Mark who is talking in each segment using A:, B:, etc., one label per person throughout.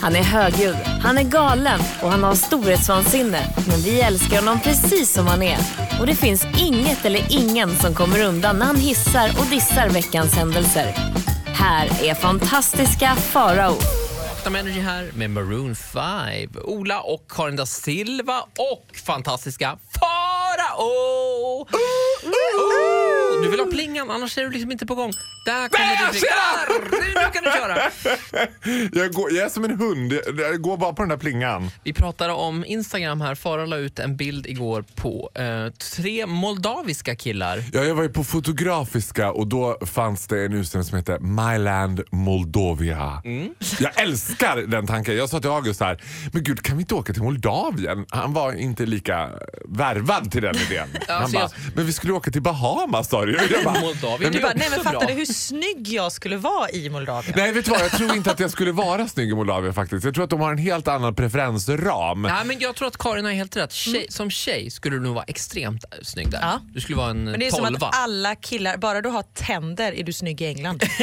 A: Han är högljudd, han är galen och han har storhetsvansinne. Men vi älskar honom precis som han är. Och det finns inget eller ingen som kommer undan när han hissar och dissar veckans händelser. Här är fantastiska Farao.
B: Vakna med Energy här med Maroon 5. Ola och Karin da Silva och fantastiska Farao! Oh, Du vill ha plingan, annars är du liksom inte på gång. Där kommer
C: jag
B: du Där! Nu kan du köra!
C: Jag, går, jag är som en hund, jag, jag går bara på den där plingan.
B: Vi pratade om Instagram här. Farao la ut en bild igår på eh, tre moldaviska killar.
C: Ja, jag var ju på Fotografiska och då fanns det en utställning som hette My Land Moldovia. Jag älskar den tanken. Jag sa till August här, men gud kan vi inte åka till Moldavien? Han var inte lika värvad till den idén. Han
B: så
C: bara,
B: jag-
C: men vi skulle åka till Bahamas sa du ju." Jag bara,
B: Moldavien
D: Du
B: är
D: bara,
B: också
D: nej men
B: bra.
D: fattar du hur snygg jag skulle vara i Moldavien?
C: Nej, vet du vad? Jag tror inte att jag skulle vara snygg i Moldavien faktiskt. Jag tror att de har en helt annan preferensram.
B: Nej, men jag tror att Karin har helt rätt. Tjej, Som tjej skulle du nog vara extremt snygg där.
D: Ja.
B: Du skulle vara en
D: Men det är som
B: tolva.
D: att alla killar, bara du har tänder är du snygg i England.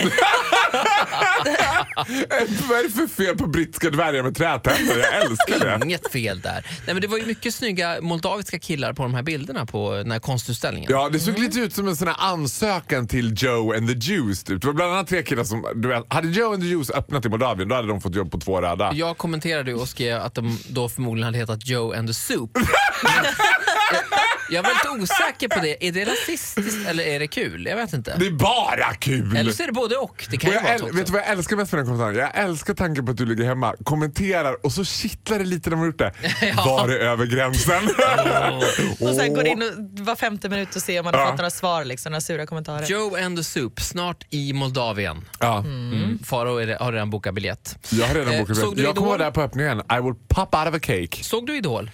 C: Vad är det för fel på brittiska dvärgar med trätänder? Jag älskar det.
B: Inget fel där. Nej, men det var ju mycket snygga moldaviska killar på de här bilderna på eh, den här konstutställningen.
C: Ja, det såg lite ut som en sån här ansökan till Joe and the Juice. Typ. Det var bland annat tre killar som... Du vet, hade Joe and the Juice öppnat i Moldavien då hade de fått jobb på två röda.
B: Jag kommenterade ju och skrev att de då förmodligen hade hetat Joe and the Soup. eh, jag var lite osäker på det. Är det rasistiskt eller är det kul? Jag vet inte.
C: Det är bara kul!
B: Eller så är det både och. Det kan
C: Och
B: ju
C: jag
B: vara
C: äl-
B: så också.
C: vet du vad jag älskar mest med den kommentaren? Jag älskar tanken på att du ligger hemma, kommenterar och så kittlar det lite när man har gjort det. Var det över gränsen?
B: Oh.
D: Och sen går in och, var femte minut och ser om man har
C: Ja.
D: fått några svar, liksom, några sura kommentarer.
B: Joe and the Soup, snart i Moldavien.
C: Ja,
B: Mm. Farao är- har redan bokat biljett.
C: jag har redan
B: Eh,
C: bokat
B: såg
C: biljett.
B: du
C: Jag kommer
B: Idol?
C: vara där på öppningen. I will pop out of a cake.
B: Såg du Idol?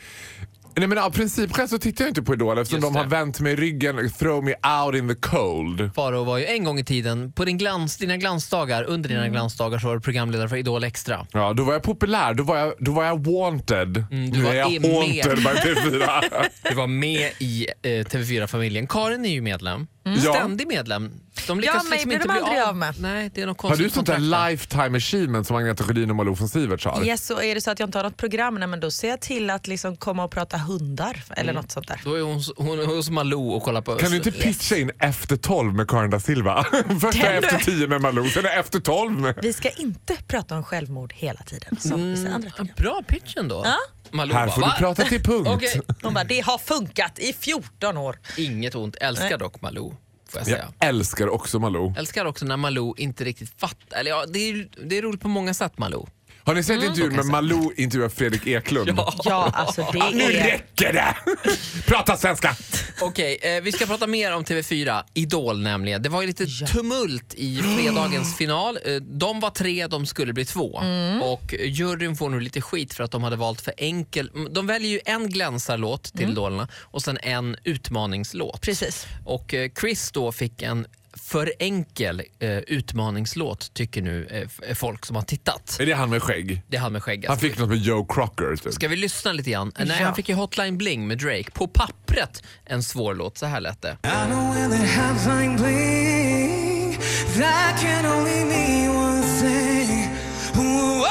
C: Nej, men av principskäl så tittar jag inte på Idol eftersom
B: Just
C: de har
B: det.
C: vänt mig ryggen. Throw me out in the cold.
B: Farao var ju en gång i tiden, på din glans, dina glansdagar, under dina glansdagar så var du programledare för Idol Extra.
C: Ja, då var jag populär. Då var jag, då var jag wanted.
B: Mm, du
C: nu
B: var
C: är jag
B: i med.
C: haunted by TV4.
B: Du var med i eh, TV4-familjen. Karin är ju medlem.
C: Mm. Ja.
B: Ständig medlem. De lyckas
D: mig
B: liksom
D: blir
B: inte
D: de
B: bli
D: aldrig av med.
B: Nej, det är något
C: har
B: konstigt
C: du sånt där
B: kontrakt där.
C: lifetime achievement som Agneta Sjödin och Malou von Siverts har?
D: Yes, och är det så att jag inte har något program, nej, men då ser jag till att liksom komma och prata hundar eller något sånt där.
B: Då är hon, hon, hon hos Malou och kollar på...
C: Kan du inte pitcha in Efter 12 med Karin da Silva? Först är
D: Kan
C: Efter
D: du?
C: 10 med Malou, sen är Efter 12 med...
D: Vi ska inte prata om självmord hela tiden som vissa andra program.
B: Bra pitch ändå.
D: Ja.
B: Malou
C: Här
B: bara,
C: får du
B: "Va?"
C: prata till punkt.
B: Okej.
D: De bara, det har funkat i 14 år.
B: Inget ont. Älskar
D: Nej.
B: dock Malou, får jag
C: Jag
B: säga.
C: älskar också Malou.
B: Älskar också när Malou inte riktigt fattar. Eller ja, det är, det är roligt på många sätt Malou.
C: Har ni sett intervjun med
B: Okej, så.
C: Malou intervjuar Fredrik Eklund?
D: Mm, Ja, alltså det
C: Nu
D: är...
C: räcker det! Prata svenska!
B: Okej, eh, vi ska prata mer om TV4, Idol nämligen. Det var ju lite tumult i fredagens final. Eh, de var tre, de skulle bli två. Och juryn får nu lite skit för att de hade valt för enkel... mm, De väljer ju en glänsarlåt till Idolerna och sen en utmaningslåt.
D: Precis.
B: Och eh, Chris då fick en för enkel eh, utmaningslåt tycker nu eh, f- folk som har tittat.
C: Är det han med skägg?
B: Det är han med skägget.
C: Han fick något med Joe Crocker. Typ.
B: Ska vi lyssna lite grann? Eh, Nej,
D: Ja.
B: han fick ju Hotline Bling med Drake. På pappret en svår låt. Så här lät det.
E: I know when the hotline bling, that can only mean one thing. Whoa,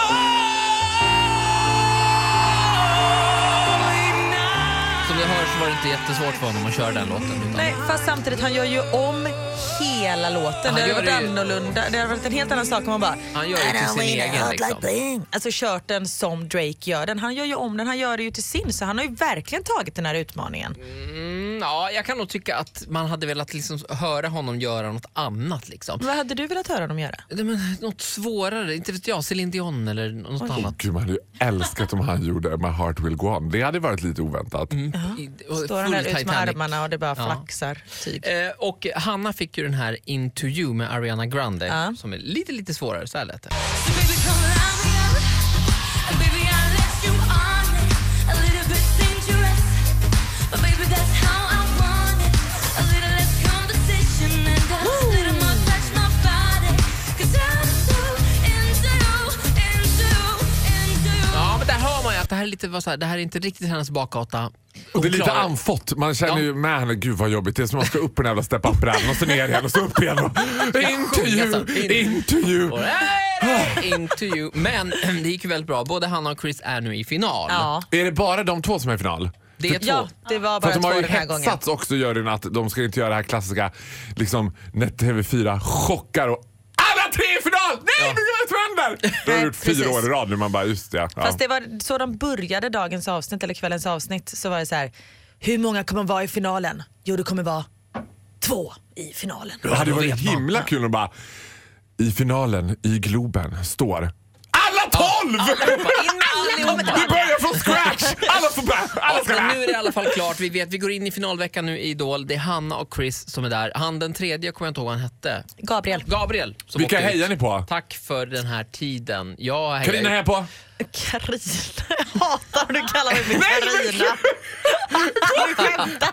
E: only now.
B: Som ni hör så var det inte jättesvårt för honom att köra den låten. Utan
D: Nej, fast samtidigt, han gör ju om hela låten.
B: Han
D: Det hade
B: gör
D: varit
B: det ju-
D: annorlunda. Det hade varit en helt annan sak om man bara...
B: Han gör ju till sin egen liksom.
D: Alltså kört den som Drake gör den. Han gör ju om den, han gör det ju till sin. Så han har ju verkligen tagit den här utmaningen.
B: Mm, ja, jag kan nog tycka att man hade velat liksom höra honom göra något annat. Liksom.
D: Vad hade du velat höra dem göra?
B: Nej, Men, något svårare, inte vet jag, Céline Dion eller något annat.
C: Gud, man hade ju älskat om han gjorde My Heart Will Go On. Det hade varit lite oväntat.
D: Mm.
B: I- och
D: Står han
B: full
D: där ut med
B: Titanic.
D: armarna och det bara
B: Ja.
D: flaxar. Typ.
B: Eh, och Hanna fick ju den här Into You med Ariana Grande
D: Ja.
B: som är lite, lite svårare. Så här lät det.
F: So baby, come around me up. And baby, I left you on it. A little bit dangerous. But baby, that's how I want it. A little less conversation and a little more touch my body. Cause I'm so into you, into you, into you.
B: Ja, men där hör man ju att det här är, lite, vad så här, det här är inte riktigt hennes bakgata.
C: Och det är lite
B: Oklar.
C: anfått. Man känner
B: Ja.
C: ju med henne, gud vad jobbigt. Det är som att man ska upp på den jävla step up och så ner igen och så upp igen. Och, intervju,
B: sjunga så. In-
C: intervju.
B: Och, "Hey!" Into you. Men det gick ju väldigt bra. Både Hanna och Chris är nu i final.
D: Ja.
C: Är det bara de två som är i final?
B: Det är två.
D: ja, det
C: För
D: var bara
C: att
D: två
C: de har ju
D: den här gången.
C: hetsats också juryn att de ska inte göra det här klassiska liksom, när TV4 chockar och alla tre är i final! Nej, men gud vad händer? Det har de
D: Nej,
C: gjort fyra
D: precis.
C: år i rad nu. Man bara, just det. Ja.
D: Fast det var så de började dagens avsnitt, eller kvällens avsnitt, så var det så här. Hur många kommer vara i finalen? Jo, det kommer vara två i finalen.
C: Det hade
B: då
C: varit
B: vet man.
C: himla kul att bara i finalen i Globen står alla tolv! Vi börjar från scratch! Alla får börja! Alla ska
B: Men nu
C: med!
B: är det i alla fall klart. Vi vet, vi går in i finalveckan nu i Idol. Det är Hanna och Chris som är där. Han den tredje, kommer jag inte ihåg vad han hette.
D: Gabriel.
B: Gabriel. Som
C: Vilka
B: åkte ut.
C: hejar ni på?
B: Tack för den här tiden. Jag hejar
C: Carina
B: ju-
C: hejar på.
D: Carina. Jag hatar när du kallar mig för Carina. Du skämtar.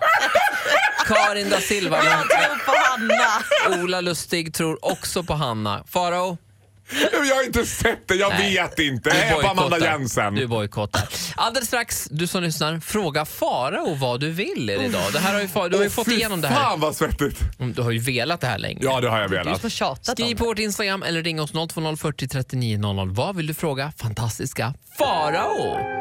B: Karin da Silva.
D: Jag tror på Hanna.
B: Men Ola Lustig tror också på Hanna. Farao?
C: Jag har inte sett det, jag
B: Nej.
C: vet inte.
B: Du
C: Jag hejar på Amanda
B: bojkottar.
C: Jensen.
B: Du bojkottar. Alldeles strax, du som lyssnar, fråga Farao vad du vill idag. Det här har ju, Farao- du har ju
C: Åh,
B: fått
C: fy
B: igenom det här.
C: fan vad svettigt.
B: Mm, Du har ju velat det här länge.
C: Ja, det har jag
D: Du
C: velat.
D: som har tjatat om
B: Skriv på
D: det.
B: vårt Instagram eller ring oss 020 40 39 00. Vad vill du fråga fantastiska Farao?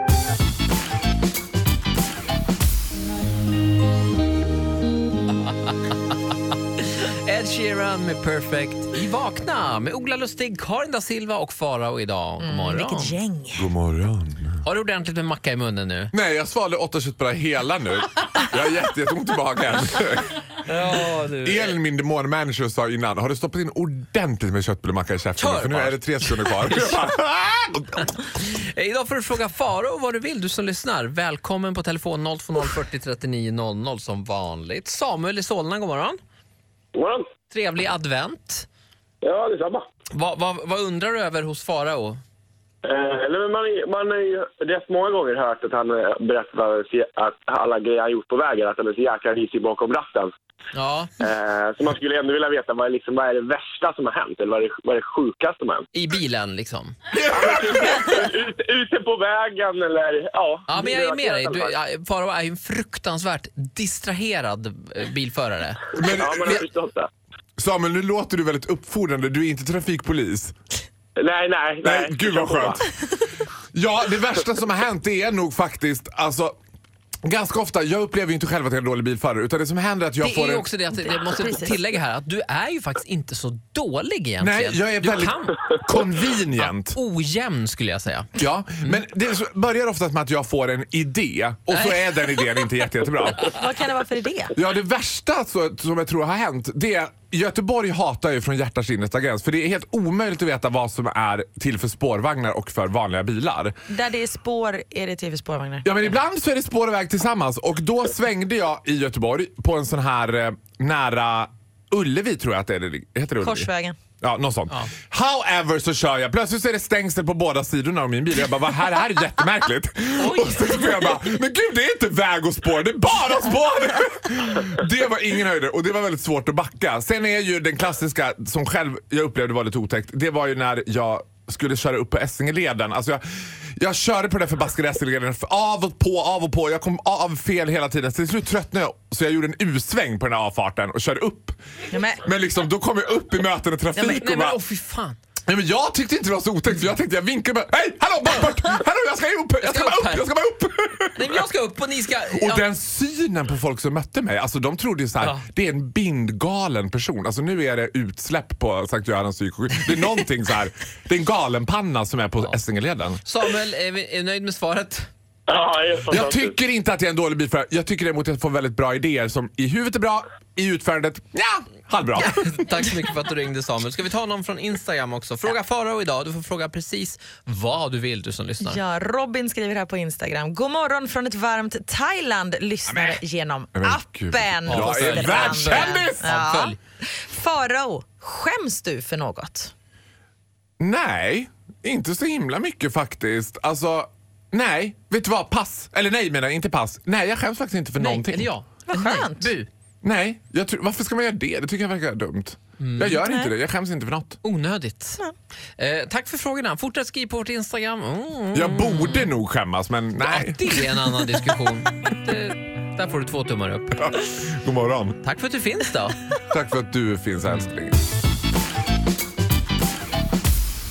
B: Ed Sheeran med Perfect i Vakna med Ola Lustig, Karin da Silva och Farao idag. God morgon.
D: Mm, Vilket gäng.
C: God morgon.
B: Har du ordentligt med macka i munnen nu?
C: Nej, jag svalde åtta köttbullar hela nu. Jag har jätte- jätteont i magen.
B: Ja,
C: Elin, min demonmanager, sa innan har du stoppat in ordentligt med köttbullemacka i käften?
B: Kör
C: För nu
B: bara.
C: är det tre sekunder kvar. Jag bara, "Ah!"
B: Idag får du fråga Faro vad du vill, du som lyssnar. Välkommen på telefon 020 40 39 00 som vanligt. Samuel i Solna, god morgon.
G: God morgon.
B: Trevlig advent.
G: Ja, detsamma.
B: Vad, vad, vad undrar du över hos Farao?
G: Eh, eller men man, man har ju rätt många gånger hört att han eh, berättar se- att alla grejer han gjort på vägen, att han är så jäkla risig bakom ratten.
B: Ja,
G: Eh, så man skulle ändå vilja veta vad är, liksom, vad är det värsta som har hänt eller vad är det, vad är det sjukaste som har hänt?
B: i bilen liksom.
G: Ut, ute på vägen eller ja.
B: Ja, men jag är med dig. Du,
G: ja,
B: ja, Faro är ju en fruktansvärt distraherad eh, bilförare.
G: men jag har förstått det.
C: Samuel, nu låter du väldigt uppfordrande. Du är inte trafikpolis.
G: Nej, nej, nej.
C: Nej, gud vad skönt. Ja, det värsta som har hänt det är nog faktiskt, alltså Ganska ofta, jag upplever ju inte själv att jag är en dålig bilförare utan det som händer är att jag
B: Det
C: får
B: är ju
C: en...
B: också det att jag måste
D: Precis.
B: tillägga här att du är ju faktiskt inte så dålig egentligen.
C: Nej, jag är
B: du
C: väldigt
B: kan
C: convenient.
B: ojämn skulle jag säga.
C: Ja, men det så- börjar ofta med att jag får en idé och så är den idén inte jätte, jättebra.
D: Vad kan det vara för idé?
C: Ja, det värsta så, som jag tror har hänt, det är Göteborg hatar ju från hjärtats innersta gräns för det är helt omöjligt att veta vad som är till för spårvagnar och för vanliga bilar.
D: Där det är spår är det tv spårvagnar.
C: Ja, men ibland så är det spår och väg tillsammans och då svängde jag i Göteborg på en sån här eh, nära Ullevi tror jag att det är. Heter det Ullevi?
D: Korsvägen.
C: Ja, något sånt. However så kör jag. Plötsligt så är det stängsel på båda sidorna av min bil. Jag bara, vad här, det här är jättemärkligt. Och så får jag bara, men gud det är inte väg och spår, det är bara spår! det var ingen höjdare och det var väldigt svårt att backa. Sen är ju den klassiska, som själv jag upplevde var lite otäckt, det var ju när jag skulle köra upp på Essingeleden. Alltså jag, jag körde på den där förbaskade Essingeleden för av och på, av och på. Jag kom av fel hela tiden. Så till slut tröttnade jag så jag gjorde en U-sväng på den här avfarten och körde upp.
D: Ja, men-
C: Men liksom, då kom jag upp i mötande trafik
B: Nej, men, nej, men
C: och bara,
B: åh fy fan.
C: Nej, men jag tyckte inte det var så otäckt för jag tänkte jag vinkade bara Hej! Hallå! Bort, bort! Hallå jag ska upp! Jag
B: ska
C: ska bara
B: upp här."
C: upp! Jag ska bara upp!
B: Nej, men jag ska upp och ni ska...
C: Och den synen på folk som mötte mig, alltså de trodde ju såhär,
B: Ja.
C: det är en bindgalen person. Alltså nu är det utsläpp på Sankt Görans psyksjukhus. Det är någonting så här. det är en galenpanna som är på Essingeleden.
B: Samuel, är, vi, är du nöjd med svaret?
G: Ja, det är
C: Jag
G: fantastiskt.
C: tycker inte att jag är en dålig bilförare. Jag tycker däremot att jag får väldigt bra idéer som i huvudet är bra, i utförandet, ja, halvbra.
B: Tack så mycket för att du ringde Samuel. Ska vi ta någon från Instagram också? Fråga Farao idag. Du får fråga precis vad du vill du som lyssnar.
D: Ja, Robin skriver här på Instagram. God morgon från ett varmt Thailand. Lyssnare genom
C: men gud.
D: appen.
C: Jag
D: Och
B: är
D: så vidare.
C: världskändis!
D: Ja.
B: Följ.
D: Farao, skäms du för något?
C: Nej, inte så himla mycket faktiskt. Alltså, nej. Vet du vad? Pass. Eller nej menar jag, inte pass. Nej, jag skäms faktiskt inte för
B: Nej,
C: någonting.
B: eller ja.
D: Vad
B: Nej,
D: skönt.
B: Bu.
C: Nej, jag tror- varför ska man göra det? Det tycker jag verkar dumt.
B: Mm.
C: Jag gör inte det. Jag skäms inte för något.
B: Onödigt. Eh, tack för frågorna. Fortsätt skriv på vårt Instagram. Mm.
C: Jag borde nog skämmas, men nej.
B: Det är en annan diskussion. Det, där får du två tummar upp.
C: God morgon.
B: Tack för att du finns då.
C: Tack för att du finns, älskling.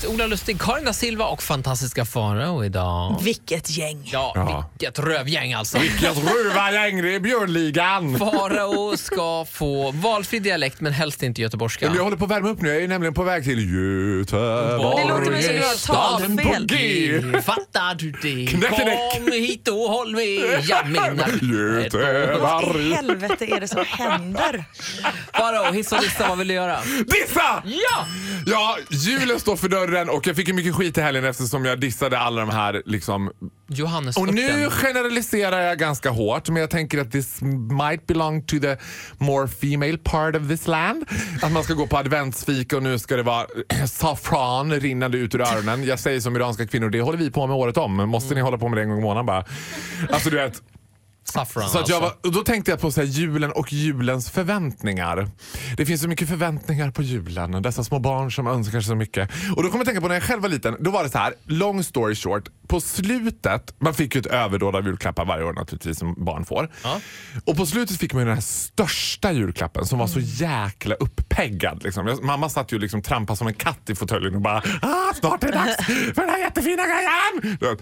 B: Ola Ola Lustig, Karin da Silva och fantastiska Farao idag.
D: Vilket gäng.
B: Ja,
C: Ja.
B: vilket rövgäng alltså.
C: Jag ruvar gäng, det är björnligan.
B: Farao ska få valfri dialekt men helst inte göteborgska.
C: Men Jag håller på att värma upp nu. Jag är ju nämligen på väg till Göteborg.
B: Det låter mig som du har
C: Staden
D: talfel.
C: på G.
B: Fattar du det?
C: Knäck, knäck.
B: Kom hit och håll med, jag menar
D: Vad i
C: Göteborg.
D: helvete är det som händer?
B: Farao, hiss och dissa, vad vill du göra?
C: Dissa!
B: Ja!
C: Ja, julen står för dörren och jag fick ju mycket skit i helgen eftersom jag dissade alla de här liksom...
B: Johannes
C: Och nu generaliserar jag ganska hårt men jag tänker att this might belong to the more female part of this land. Att man ska gå på adventsfika och nu ska det vara saffran rinnande ut ur öronen. Jag säger som iranska kvinnor, det håller vi på med året om. Måste ni hålla på med det en gång i månaden bara? Alltså du vet.
B: Saffran
C: Så att jag
B: alltså.
C: var, och då tänkte jag på så här, julen och julens förväntningar. Det finns så mycket förväntningar på julen. Dessa små barn som önskar så mycket. Och då kommer jag tänka på när jag själv var liten. Då var det så här, long story short. På slutet, man fick ju ett överdåd av julklappar varje år naturligtvis som barn får. Och på slutet fick man ju den här största julklappen som var så jäkla uppeggad. Liksom. Jag, mamma satt ju och liksom trampade som en katt i fåtöljen och bara ah, “Snart är det dags för den här jättefina grejen!” Du vet.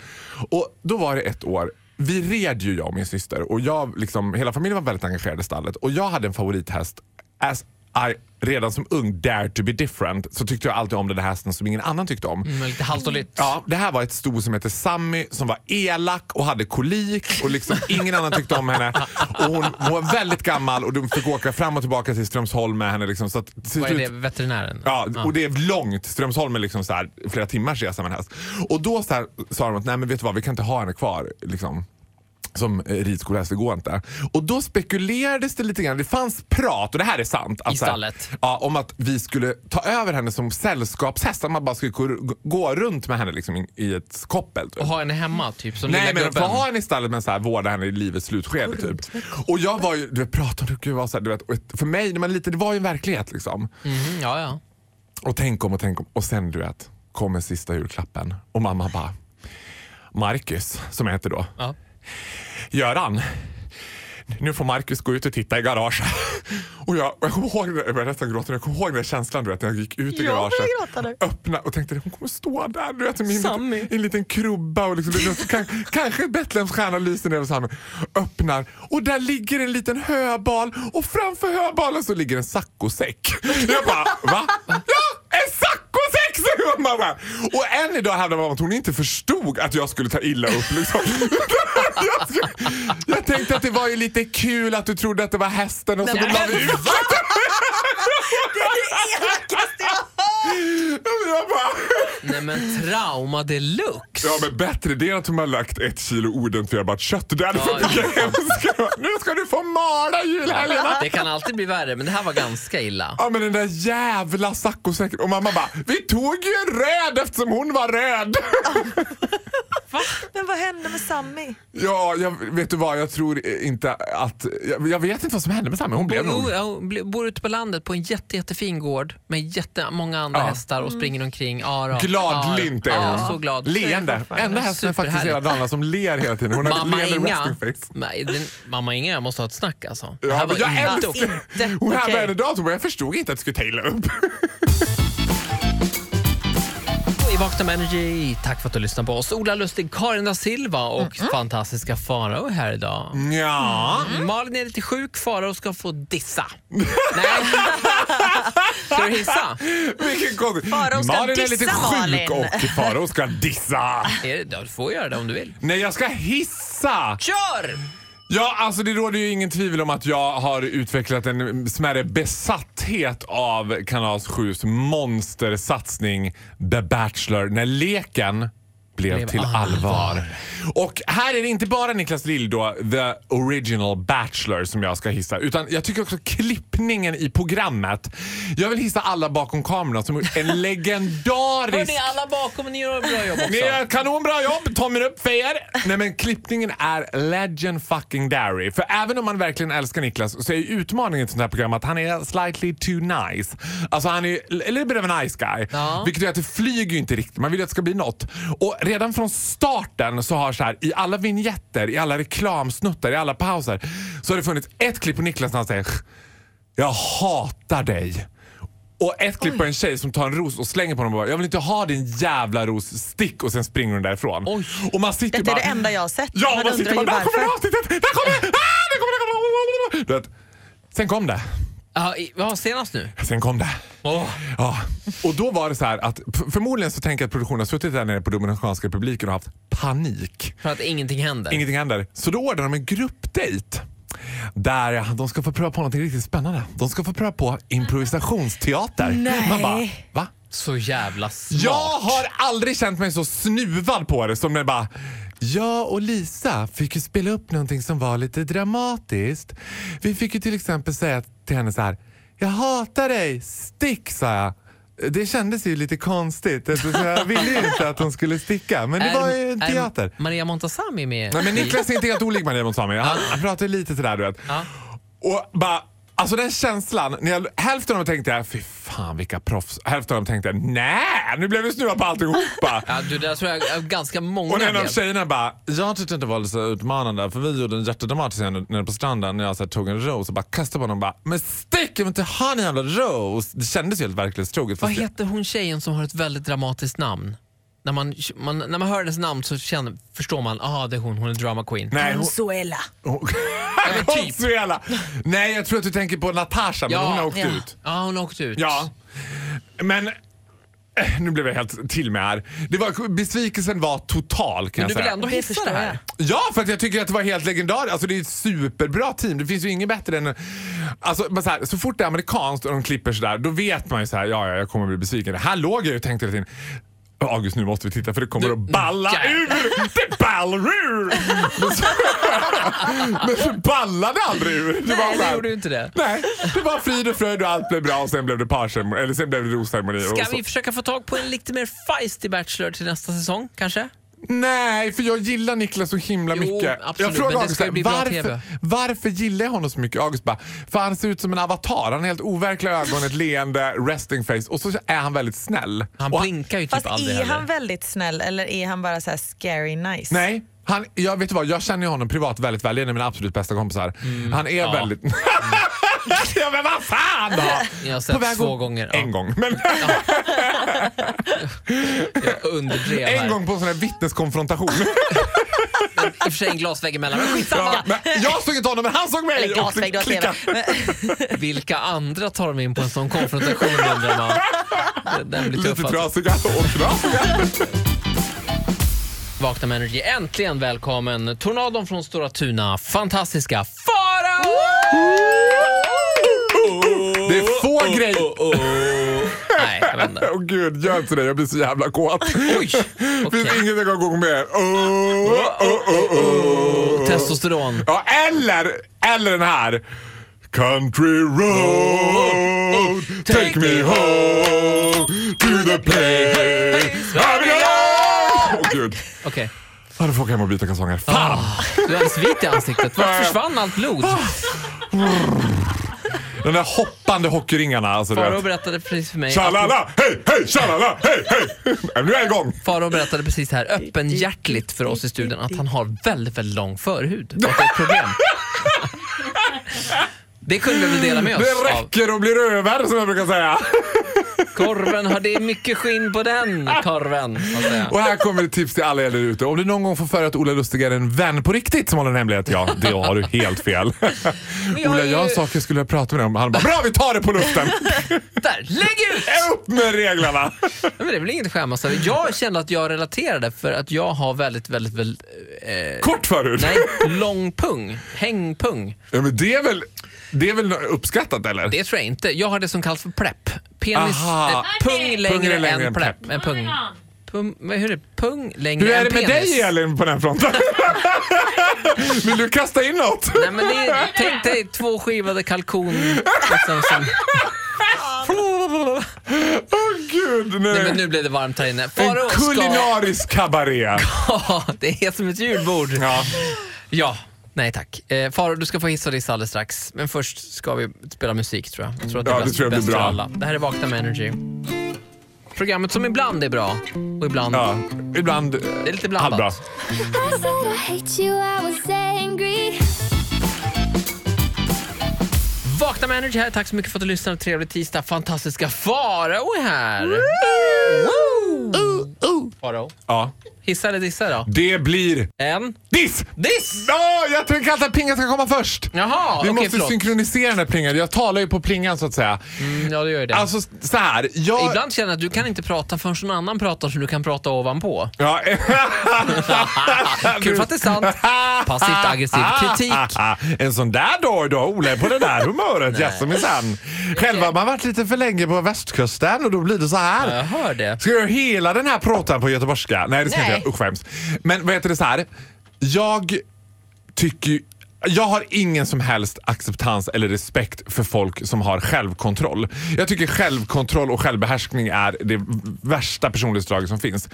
C: Och då var det ett år vi red ju jag och min syster och jag, liksom, hela familjen var väldigt engagerad i stallet och jag hade en favorithäst. As I, redan som ung, dare to be different, så tyckte jag alltid om den här hästen som ingen annan tyckte om.
B: Mm, Lite halt och lytt.
C: Ja, det här var ett sto som hette Sammy som var elak och hade kolik och liksom ingen annan tyckte om henne. Och hon, hon var väldigt gammal och de fick åka fram och tillbaka till Strömsholm med henne. Liksom, så att, till
B: Vad är det?
C: slut-
B: Veterinären?
C: Ja, och det är långt. Strömsholm är liksom så här, flera timmars resa med en häst. Och då så här, sa de att nej men vet du vad, vi kan inte ha henne kvar. Liksom. Som eh, ridskolehäst, det går inte. Och då spekulerades det lite grann, det fanns prat, och det här är sant. Att
B: I
C: så här-
B: stallet.
C: Ja, om att vi skulle ta över henne som sällskapshäst. Att man bara skulle gå, gå runt med henne liksom, i- i ett koppel. Typ.
B: Och ha henne hemma typ som
C: Nej
B: lilla
C: men
B: gubben.
C: vad har henne i stallet men så här, vårda henne i livets slutskede typ. Och jag var ju, du vet pratade och gud vad så här, du vet, och ett- för mig när man är liten, det var ju en verklighet liksom.
B: Mhm, ja, ja.
C: Och tänk om och tänk om. Och sen du vet, kommer sista julklappen och mamma bara Marcus, som jag heter då.
B: ja.
C: Göran, nu får Marcus gå ut och titta i garaget. Och jag, och jag kommer ihåg, det- jag började nästan gråta, jag kommer ihåg den där känslan du vet, när jag gick ut i
D: Jag började
C: garaget.
D: gråta nu.
C: Öppna och tänkte hon kommer stå där du vet, med en, liten,
B: Sammy.
C: i en liten krubba och liksom, det- det- kan, kanske Betlehems stjärna lyser ner över Sammy. Öppnar och där ligger en liten höbal och framför höbalen så ligger en saccosäck. Jag bara va? Ja, en saccosäck! säger hon, mamma. Och än idag hävdar mamma att hon inte förstod att jag skulle ta illa upp. Liksom. Jag skulle- Jag tänkte att det var ju lite kul att du trodde att det var hästen och så
B: Nej,
C: de la
B: men
C: vi ut Jag bara,
B: Nej men trauma deluxe.
C: Ja men bättre det är att de har lagt ett kilo oidentifierbart kött. Därför
B: Ja,
C: fick jag hemska. Nu ska du få mala julhelgen!
B: Det kan alltid bli värre men det här var ganska illa.
C: Ja men den där jävla saccosäcken. Och mamma bara, vi tog ju en röd eftersom hon var röd.
D: Men vad hände med Sammy?
C: Ja, jag, vet du vad, jag tror inte att... Jag, jag vet inte vad som hände med Sammy. Hon blev nog...
B: Jo, jag bl- bor ute på landet på en jätte, jättefin gård med jättemånga andra
C: Ja.
B: hästar och springer omkring. Ja, då.
C: Gladlynt är
B: ja,
C: hon.
B: ja, så glad.
C: Leende. Enda hästen faktiskt i hela Dalarna som ler hela tiden. Hon har
B: Mamma
C: lever
B: Inga,
C: resting face.
B: Nej, den, mamma Inga jag måste ha ett snack alltså. Det
C: Ja,
B: här
C: men
B: var
C: jag
B: inte okej.
C: älskar
D: Inte
C: Hon
D: okej.
C: hävdade henne datorn men jag förstod inte att det skulle ta illa upp.
B: I Vakna med Energy, tack för att du lyssnar på oss. Ola Lustig, Karin da Silva och fantastiska Farao är här idag.
C: Mm. Ja.
B: Malin är lite sjuk, Farao ska få dissa. Nej. Ska du hissa?
C: Vilken konstig.
D: Farao ska
C: Malin är
D: dissa
C: lite sjuk
D: Malin.
C: och Farao ska dissa.
B: Är det, ja, du får göra det om du vill.
C: Nej, jag ska hissa.
B: Kör!
C: Ja, alltså det råder ju ingen tvivel om att jag har utvecklat en smärre besatthet av Kanal 7s monstersatsning The Bachelor när leken blev,
B: Blev
C: till allvar. Och här är det inte bara Niklas Lill då, the original Bachelor som jag ska hissa, utan jag tycker också klippningen i programmet. Jag vill hissa alla bakom kameran som gjort en legendarisk
B: Hörni, alla bakom, ni gör ett bra jobb
C: ni
B: också.
C: gör ett kanonbra jobb, tummen upp för er! Nej men klippningen är legend fucking dairy. För även om man verkligen älskar Niklas så är ju utmaningen i ett sånt här program att han är slightly too nice. Alltså han är ju a little bit of a nice guy.
B: Ja.
C: Vilket gör att det flyger ju inte riktigt. Man vill ju att det ska bli något. Och redan från starten så har så här i alla vignetter, i alla reklamsnuttar, i alla pauser så har det funnits ett klipp på Niklas när han säger jag hatar dig. Och ett klipp på en tjej som tar en ros och slänger på honom och bara “Jag vill inte ha din jävla ros, stick” och sen springer hon därifrån.
B: Oj.
C: Och man sitter
D: Detta är
C: bara,
D: det enda jag har sett.
C: Ja, man,
D: Man undrar
C: sitter
D: ju
C: bara “Där kommer
D: varför."
C: avsnittet! Där kommer det! Ah, där kommer det! där kommer det." Du vet, sen kom det.
B: Ja, i- ja, senast nu.
C: Sen kom det.
B: Åh.
C: Ja. Och då var det så här att f- förmodligen så tänker jag att produktionen har suttit där nere på Dominikanska republiken och haft panik.
B: För att ingenting händer.
C: Ingenting händer. Så då ordnar de en gruppdejt. Där de ska få pröva på något riktigt spännande. De ska få pröva på improvisationsteater.
D: Nej.
C: Man bara, va?
B: Så jävla smart.
C: Jag har aldrig känt mig så snuvad på det som när bara jag och Lisa fick ju spela upp någonting som var lite dramatiskt. Vi fick ju till exempel säga till henne så här. Jag hatar dig, stick sa jag. Det kändes ju lite konstigt eftersom jag ville ju inte att hon skulle sticka. Men det var ju en
B: är
C: teater.
B: Maria Montazami med?
C: Nej, men Niklas är inte helt olik Maria Montazami. Han, han pratar ju lite sådär du vet.
B: Ja.
C: Och bara, alltså den känslan. När jag, hälften av dem tänkte jag, fy fan vilka proffs. Hälften av dem tänkte jag, nej nu blev vi snuvad på alltihopa.
B: Ja, du, där tror jag att ganska många
C: Och en av
B: blev.
C: tjejerna bara, jag tyckte inte det var så utmanande för vi gjorde en jättedramatisk scen nere på stranden när jag så här, tog en ros och bara kastade på honom och bara, men stick jag vill inte ha en jävla ros. Det kändes ju helt verklighetstroget.
B: Vad
C: fast jag-
B: heter hon tjejen som har ett väldigt dramatiskt namn? När man, man, när man hör hennes namn så känner, förstår man, aha det är hon, hon är drama queen.
C: Nej, hon,
D: Consuela.
C: hon,
B: men typ.
C: Consuela. Nej, jag tror att du tänker på Natasha, men
B: Ja,
C: hon har åkt
D: ja.
C: ut.
B: Ja, hon har åkt ut.
C: Ja, men eh, nu blev jag helt till med här. Det var, besvikelsen var total kan
B: Men du
C: jag
B: vill
C: säga.
B: ändå
D: Det
B: hissa det
D: förstår
B: här?
D: jag.
C: Ja, för att jag tycker att det var helt legendariskt. Alltså, det är ett superbra team. Det finns ju inget bättre än... Alltså, men så, här, så fort det är amerikanskt och de klipper sådär, då vet man ju så här, ja, ja, jag kommer bli besviken. Här låg jag ju och tänkte hela tiden, August nu måste vi titta för det kommer att balla
B: jävlar.
C: ur! Det ballar ur! Men så, men så ballade aldrig ur. Det var
B: Nej,
C: så
B: det
C: här-
B: gjorde ju inte det.
C: Nej, det var frid och fröjd och allt blev bra och sen blev det parceremoni, eller sen blev det rosceremoni. och så-
B: Ska vi försöka få tag på en lite mer feisty bachelor till nästa säsong kanske?
C: Nej, för jag gillar Niklas så himla
B: Jo,
C: mycket.
B: absolut,
C: jag
B: men det
C: frågade August
B: ska ju bli bra
C: varför,
B: TV.
C: varför gillar jag honom så mycket? August bara, för han ser ut som en avatar. Han har helt overkliga ögon, ett leende, resting face och så är han väldigt snäll.
B: Han
C: och
B: blinkar ju typ
D: Fast
B: aldrig
D: är han
B: heller.
D: väldigt snäll eller är han bara så här scary nice?
C: Nej. Han, jag, vet du vad, jag känner ju honom privat väldigt väl. Det är en av mina absolut bästa kompisar.
B: Mm.
C: han är väldigt... ja, men vad fan då!
B: Jag har sett
C: På väg
B: två
C: att-
B: gånger, ja.
C: En gång. Men
B: Jag underdrev här.
C: en gång på en sån här vittneskonfrontation.
B: I och för sig en glasvägg emellan, men
C: ja,
B: skitsamma.
C: men jag såg inte honom, men han såg mig!
D: Eller glasvägg, du
C: och
D: har
C: det klickade.
D: TV.
B: Vilka andra tar de in på en sån konfrontation undrar man. Den blir tuff
C: Lite
B: alltså.
C: trasiga och trasiga.
B: Vakna med Energy. Äntligen välkommen Tornadon från Stora Tuna, fantastiska Farao!
C: Det är få grejer...
B: Nej, jag vet inte.
C: oh, Åh gud, gör inte det. Jag blir så jävla kåt.
B: Oj!
C: Det finns
B: Okej.
C: inget jag kan gå med. Oh, Åh, åh, åh, åh.
B: Testosteron.
C: Ja, eller, eller den här. Country road, take me home to the place I belong. Åh gud.
B: Okej.
C: Ja, då får jag åka hem och byta kalsonger. Fan!
B: Du är alldeles vit i ansiktet. Vart försvann allt blod?
C: Ah. De där hoppande hockeyringarna. Alltså, du
B: Farao
C: vet.
B: berättade precis för mig att
C: Tjalala, hej, hej, tjalala, hej, hej. Nej, Nu är jag igång.
B: Farao berättade precis här öppenhjärtligt för oss i studion att han har väldigt, väldigt lång förhud och att det är ett problem. Det kunde vi väl dela med oss
C: Det
B: av.
C: räcker och blir över som jag brukar säga.
B: Korven har det är mycket skinn på den korven. så att säga.
C: Och här kommer ett tips till alla er där ute. Om du någon gång får för dig att Ola Lustig är en vän på riktigt som håller en hemlighet, ja, det har du helt fel.
B: har
C: Ola,
B: ju-
C: jag har en sak jag skulle vilja prata med dig om. Han bara, bra vi tar det på luften!
B: Där, lägg ut!
C: Upp med reglerna!
B: Nej, Men det är väl inget att skämmas över. Jag kände att jag relaterade för att jag har väldigt, väldigt, väldigt eh,
C: Kort förut.
B: nej, lång pung. Hängpung.
C: Ja, men det är väl, det är väl uppskattat eller?
B: Det tror jag inte. Jag har det som kallas för plepp. Penis,
C: Aha.
B: eh, pung längre,
C: Pung är
B: än plepp. Eh, pung. Pung, vad- hur är det? Pung längre
C: Hur är
B: än
C: det med
B: penis.
C: dig Elin på den här fronten? Vill du kasta in något?
B: Nej, men det är, tänk dig två skivade kalkon. Liksom, som,
C: Åh gud, nej.
B: nej, men nu blev det varmt här inne. Farao
C: en
B: ska...
C: kulinarisk kabaré.
B: Ja, det är som ett julbord.
C: Ja.
B: Ja, nej tack. Eh, Faro, du ska få hissa och dissa alldeles strax. Men först ska vi spela musik tror jag. Jag tror att det är
C: Ja, det
B: bäst,
C: tror jag blir
B: bäst för
C: bra.
B: alla. Det här är Vakna med Energy. Programmet som ibland är bra och ibland...
C: Ja, ibland
B: Det är lite blandat.
C: halvbra.
F: I said I hate you, I was angry.
B: Vakna Vakna med Energy här. Tack så mycket för att du lyssnade. Trevlig tisdag. Fantastiska Farao här. Woo! Farao,
C: Uh, Ja.
B: hissa eller dissa då?
C: Det blir
B: En
C: diss!
B: diss!
C: Ja, jag tänker alltid att plingan ska komma först.
B: Jaha,
C: Vi
B: okej
C: måste
B: förlåt.
C: synkronisera den här plingan. Jag talar ju på plingan så att säga.
B: Mm, ja, du gör det.
C: Alltså så här. Jag...
B: Ibland känner jag att du kan inte prata förrän någon annan pratar så du kan prata ovanpå.
C: Ja.
B: Kul för att det är sant. Passivt aggressiv kritik.
C: En sån där dag idag, Ola är på det där humöret. Jaså minsann. Själva har man varit lite för länge på västkusten och då blir det så här.
B: Jag hör det.
C: Ska jag göra hela den här pratan på göteborgska? Nej, det ska jag inte
D: Nej.
C: göra. Usch, vad hemskt. Men vad heter det så här? Jag tycker ju- jag har ingen som helst acceptans eller respekt för folk som har självkontroll. Jag tycker självkontroll och självbehärskning är det värsta personlighetsdraget som finns.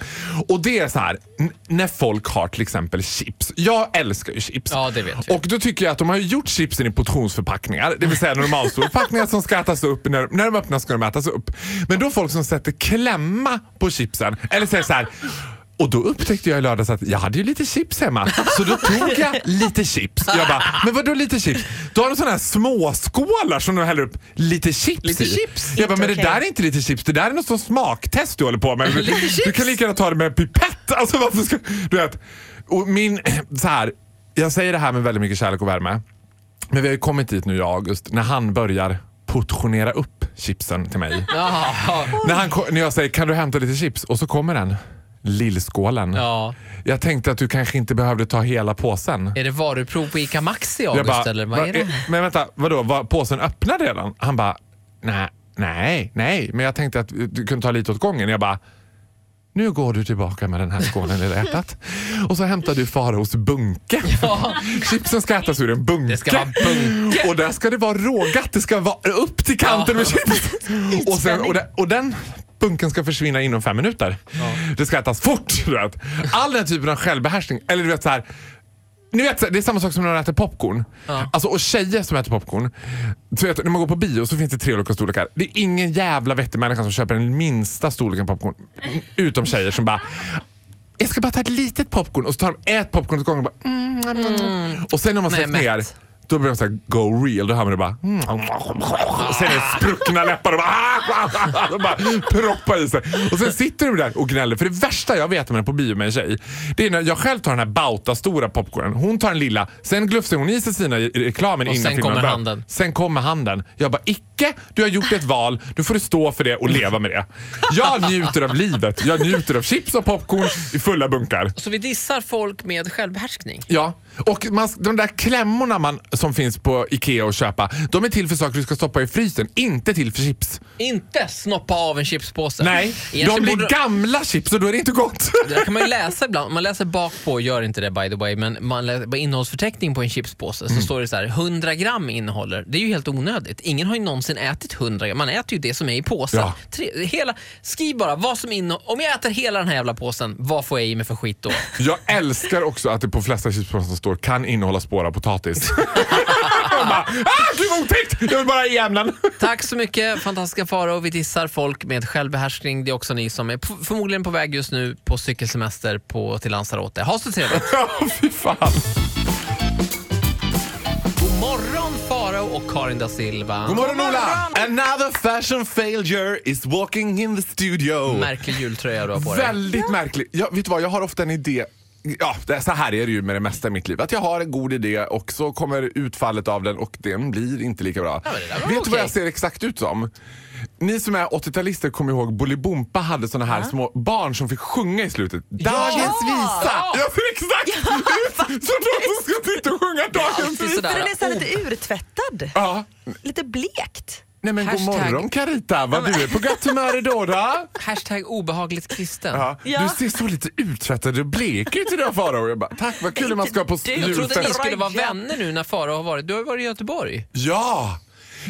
C: Och det är så här, n- när folk har till exempel chips. Jag älskar ju chips.
B: Ja, det vet vi.
C: Och då tycker jag att de har ju gjort chipsen i portionsförpackningar, det vill säga normalstora förpackningar som ska ätas upp. När, när de öppnas ska de ätas upp. Men då folk som sätter klämma på chipsen, eller säger så här. Och då upptäckte jag i lördags att jag hade ju lite chips hemma. Så då tog jag lite chips. Jag bara, men vadå lite chips? Då har de sådana här småskålar som de häller upp lite chips
B: Lite
C: i.
B: chips?
C: Jag bara, men det
D: Inte
C: där
D: okej.
C: är inte lite chips. Det där är något sånt smaktest du håller på med. Du, du kan lika gärna ta det med en pipett. Alltså varför ska... Du vet. Och min... Så här, jag säger det här med väldigt mycket kärlek och värme. Men vi har ju kommit dit nu i august när han börjar portionera upp chipsen till mig.
B: Jaha.
C: När, han, ko- när jag säger kan du hämta lite chips och så kommer den. Lillskålen.
B: Ja.
C: Jag tänkte att du kanske inte behövde ta hela påsen.
B: Är det varuprov på ICA Maxi i
C: Jag
B: August
C: bara,
B: eller vad är
C: "Va-
B: det?
C: eh, Men vänta, vadå, var påsen öppnad redan? Han bara, nej, nej, nej, men jag tänkte att du kunde ta lite åt gången. Jag bara, nu går du tillbaka med den här skålen i hjärtat. Och så hämtar du Faraos bunke. Chipsen ska ätas ur en bunke.
B: Det ska vara bunke.
C: Och där ska det vara rågat. Det ska vara upp till kanten med chips. Och, sen, och, den, och den bunken ska försvinna inom fem minuter. Det ska ätas fort. Du vet. All den här typen av självbehärskning. Eller du vet så här, ni vet, så här, det är samma sak som när man äter popcorn. Alltså, och tjejer som äter popcorn. Så vet, du, när man går på bio så finns det tre olika storlekar. Det är ingen jävla vettig människa som köper den minsta storleken popcorn. Utom tjejer som bara jag ska bara ta ett litet popcorn och så tar de ett popcorn åt gången och bara mm, mm, mm. Och sen när man
B: Nej,
C: sätter ner
B: mätt.
C: då blir de såhär go real. Då hör man det bara... Mm. Och sen är det spruckna läppar och bara... ah, ah, ah, ah. De bara proppar i sig. Och sen sitter du där och gnäller. För det värsta jag vet när man är på bio med en tjej, det är när jag själv tar den här bauta-stora popcornen. Hon tar den lilla. Sen glufsar hon i sig sina i reklamen
B: Och
C: innan
B: sen
C: filmen
B: kommer
C: börjar.
B: handen.
C: Sen kommer handen. Jag bara, icke! Du har gjort ett val. Nu får du stå för det och leva med det. Jag njuter av livet. Jag njuter av chips och popcorn i fulla bunkar.
B: Så Alltså, vi dissar folk med självbehärskning?
C: Ja, och man, de där klämmorna man, som finns på Ikea och köpa, de är till för saker du ska stoppa i frysen, inte till för chips.
B: Inte snoppa av en chipspåse.
C: Nej, de
B: Egentligen
C: blir
B: borde-
C: gamla chips och då är det inte gott.
B: Det där kan man ju läsa ibland. Man läser bak på, gör inte det by the way, men man läser på innehållsförteckning på en chipspåse så
C: Mm.
B: står det så här 100 gram innehåller. Det är ju helt onödigt. Ingen har ju någonsin ätit 100 gram. Man äter ju det som är i påsen.
C: Ja.
B: Tre, hela, skriv bara vad som innehåller. Om jag äter hela den här jävla påsen, vad får jag i mig för skit då?
C: Jag älskar också att det på flesta chipspåsar som står kan innehålla spår av potatis. Jag bara, ah, gud vad otäckt! Jag vill bara i ämnen.
B: Tack så mycket fantastiska Farao. Vi dissar folk med självbehärskning. Det är också ni som är p- förmodligen på väg just nu på cykelsemester på, till Lanzarote. Ha så trevligt!
C: Ja, fy fan.
B: God morgon Farao och Karin da Silva.
C: God morgon Ola! Another fashion failure is walking in the studio.
B: Märklig jultröja du har på dig.
C: Väldigt märklig. Jag, vet du vad, jag har ofta en idé. Ja, det, så här är det ju med det mesta i mitt liv. Att jag har en god idé och så kommer utfallet av den och den blir inte lika bra.
B: men det där var
C: vet du vad
B: okej.
C: jag ser exakt ut som? Ni som är 80-talister kommer ihåg Bolibompa hade såna här små barn som fick sjunga i slutet. Dagens visa! Jag ser exakt ut som de som ska sitta och sjunga Dagens
B: alltid
C: visa.
B: sådär.
D: För den är så här lite urtvättad.
C: Ja.
D: Lite blekt.
C: Nej men god
B: Hashtag-
C: morgon Carita, vad du är på gott humör idag då?
B: Hashtag obehagligt kristen.
C: Ja.
D: Ja.
C: Du ser så lite uttröttad och blek ut idag Farao. Jag bara, tack vad kul man ska på
B: Alltså, Jag trodde ni
C: julfest.
B: skulle vara vänner nu när Farao har varit. Du har ju varit i Göteborg.
C: Ja!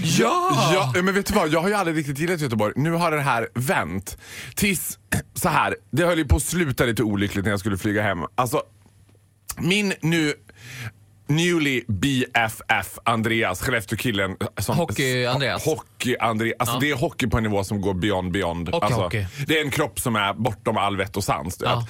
C: Ja! ja! Men vet du vad, jag har ju aldrig riktigt gillat Göteborg. Nu har det här vänt. Tills, så här, det höll ju på att sluta lite olyckligt när jag skulle flyga hem. Alltså, min nu newly BFF Andreas, Skellefteå-killen. som-
B: Hockey-Andreas.
C: Hockey-Andreas. Alltså det är hockey på en nivå som går beyond beyond.
B: Hockey,
C: alltså,
B: hockey.
C: Det är en kropp som är bortom all vett och sans. du vet.
B: Ja.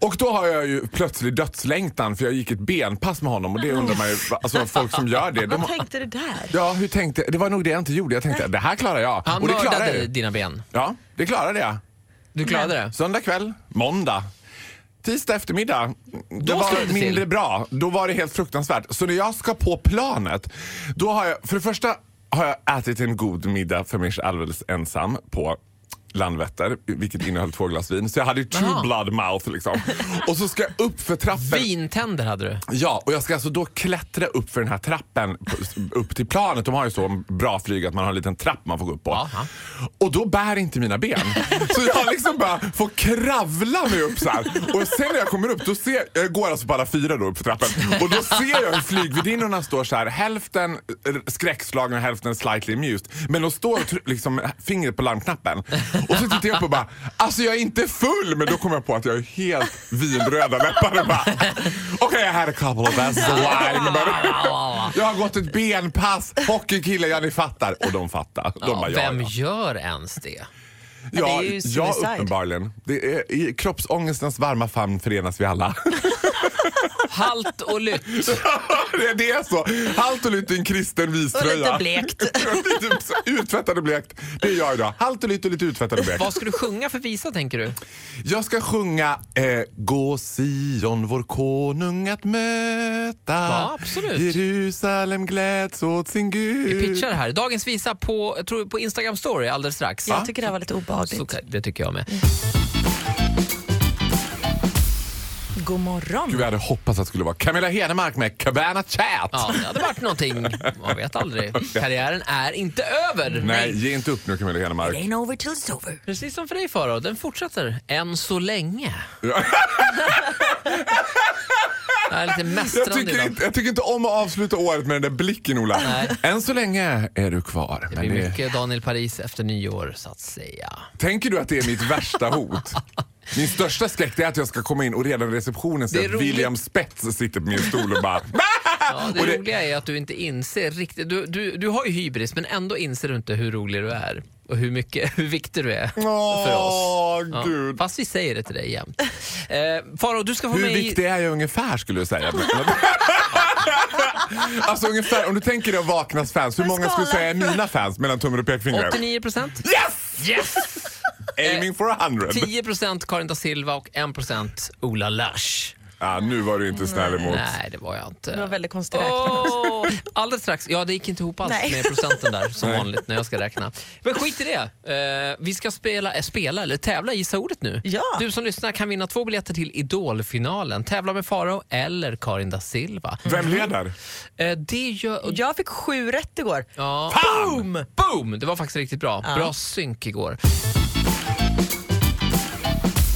C: Och då har jag ju plötsligt dödslängtan för jag gick ett benpass med honom och det undrar man ju, alltså folk som gör det. De,
D: Vad tänkte du där?
C: ja, hur tänkte, det var nog det jag inte gjorde. Jag tänkte det här klarar jag.
B: Han
C: och det klarar
B: mördade
C: jag ju.
B: dina ben.
C: Ja, det klarade jag.
B: Du klarade det.
C: Söndag kväll, måndag. Tisdag eftermiddag, det
B: Då slog det
C: var
B: till.
C: mindre bra. Då var det helt fruktansvärt. Så när jag ska på planet, då har jag, för det första har jag ätit en god middag för mig alldeles ensam på Landvetter, vilket innehöll två glas vin. Så jag hade ju true
B: Jaha.
C: blood mouth liksom. Och så ska jag upp för trappen.
B: Vintänder hade du.
C: Ja, och jag ska alltså då klättra upp för den här trappen p- upp till planet. De har ju så bra flyg att man har en liten trapp man får gå upp på.
B: Aha.
C: Och då bär inte mina ben. Så jag liksom bara får kravla mig upp så här. Och sen när jag kommer upp, då ser jag går alltså bara fyra då upp för trappen. Och då ser jag hur flygvärdinnorna står så här, hälften eh, skräckslagna och hälften slightly amused. Men de står och tr- liksom fingret på larmknappen. Och så tittar jag upp och bara, alltså jag är inte full! Men då kommer jag på att jag är helt vinröda läppar och bara, Okej, jag hade a couple of glasses of wine. but- Jag har gått ett benpass. Hockeykille, ja ni fattar. Och de fattar. De bara,
B: Ja,
C: ja,
B: vem
C: ja.
B: gör ens det?
C: Ja,
D: det är ju
C: ja,
D: suicide.
C: uppenbarligen. Det är, I kroppsångestens varma famn förenas vi alla.
B: Halt och lytt.
C: det, det är så. Halt och lytt i en kristen
D: Och
C: viströja.
D: lite blekt.
C: Lite utvättad och blekt. Det är jag idag. Halt och lytt och lite utvättad och blekt.
B: Vad ska du sjunga för visa tänker du?
C: Jag ska sjunga eh, Gå Sion vår konung att möta
B: Ja, absolut.
C: Jerusalem gläds åt sin Gud
B: Vi pitchar det här. Dagens visa på, jag tror på Instagram story alldeles strax.
D: Jag tycker det här var lite obehagligt.
B: Så, det tycker jag med.
D: God
C: Gud,
D: morgon.
C: jag hade hoppats att det skulle vara Camilla Henemark med Cabana Chat.
B: Ja, det hade varit någonting. Man vet aldrig. Karriären är inte över.
C: Nej, ge inte upp nu Camilla Henemark.
D: Ain't over till it's over.
B: Precis som för dig Farao, den fortsätter än så länge. Det här är lite
C: Jag
B: mästrande
C: tycker,
B: idag.
C: inte, jag tycker inte om att avsluta året med den där blicken Ola.
B: Nej.
C: Än så länge är du kvar.
B: Det
C: Men
B: blir
C: det, Ah.
B: mycket Daniel Paris efter nyår så att säga.
C: tänker du att det är mitt värsta hot? Min största skräck det är att jag ska komma in och redan i receptionen
B: Det
C: se
B: är
C: att
B: roligt.
C: William Spets sitter på min stol och bara...
B: Ja, det,
C: Och det-
B: roliga är att du inte inser riktigt. Du, du, du har ju hybris men ändå inser du inte hur rolig du är och hur, mycket, hur viktig du är för oss.
C: Åh,
B: Ja,
C: gud.
B: Fast vi säger det till dig jämt. Eh, Farao, du ska få
C: Hur
B: med
C: viktig är jag ungefär skulle du säga? alltså ungefär, om du tänker dig Vaknas fans, hur många skulle du säga är mina fans mellan tummen och pekfingret?
B: 89 procent.
C: Yes!
B: Yes!
C: Aiming for 100.
B: 10 procent Karin da Silva och 1 procent Ola Lash.
C: Ja, nu var du inte snäll emot.
B: Nej, det var jag inte.
D: Det var väldigt konstigt räknat.
B: Åh, alldeles strax. Ja, det gick inte ihop alls
D: Nej.
B: med procenten där som vanligt när jag ska räkna. Men skit i det. Eh, vi ska spela, eh, spela eller tävla i Gissa ordet nu.
D: Ja.
B: Du som lyssnar kan vinna två biljetter till Idolfinalen. Tävla med Faro eller Karin da Silva.
C: Vem leder?
B: Eh, det gör...
D: Jag fick sju rätt igår.
B: Ja.
D: Boom!
B: Boom! Det var faktiskt riktigt bra. Bra synk igår.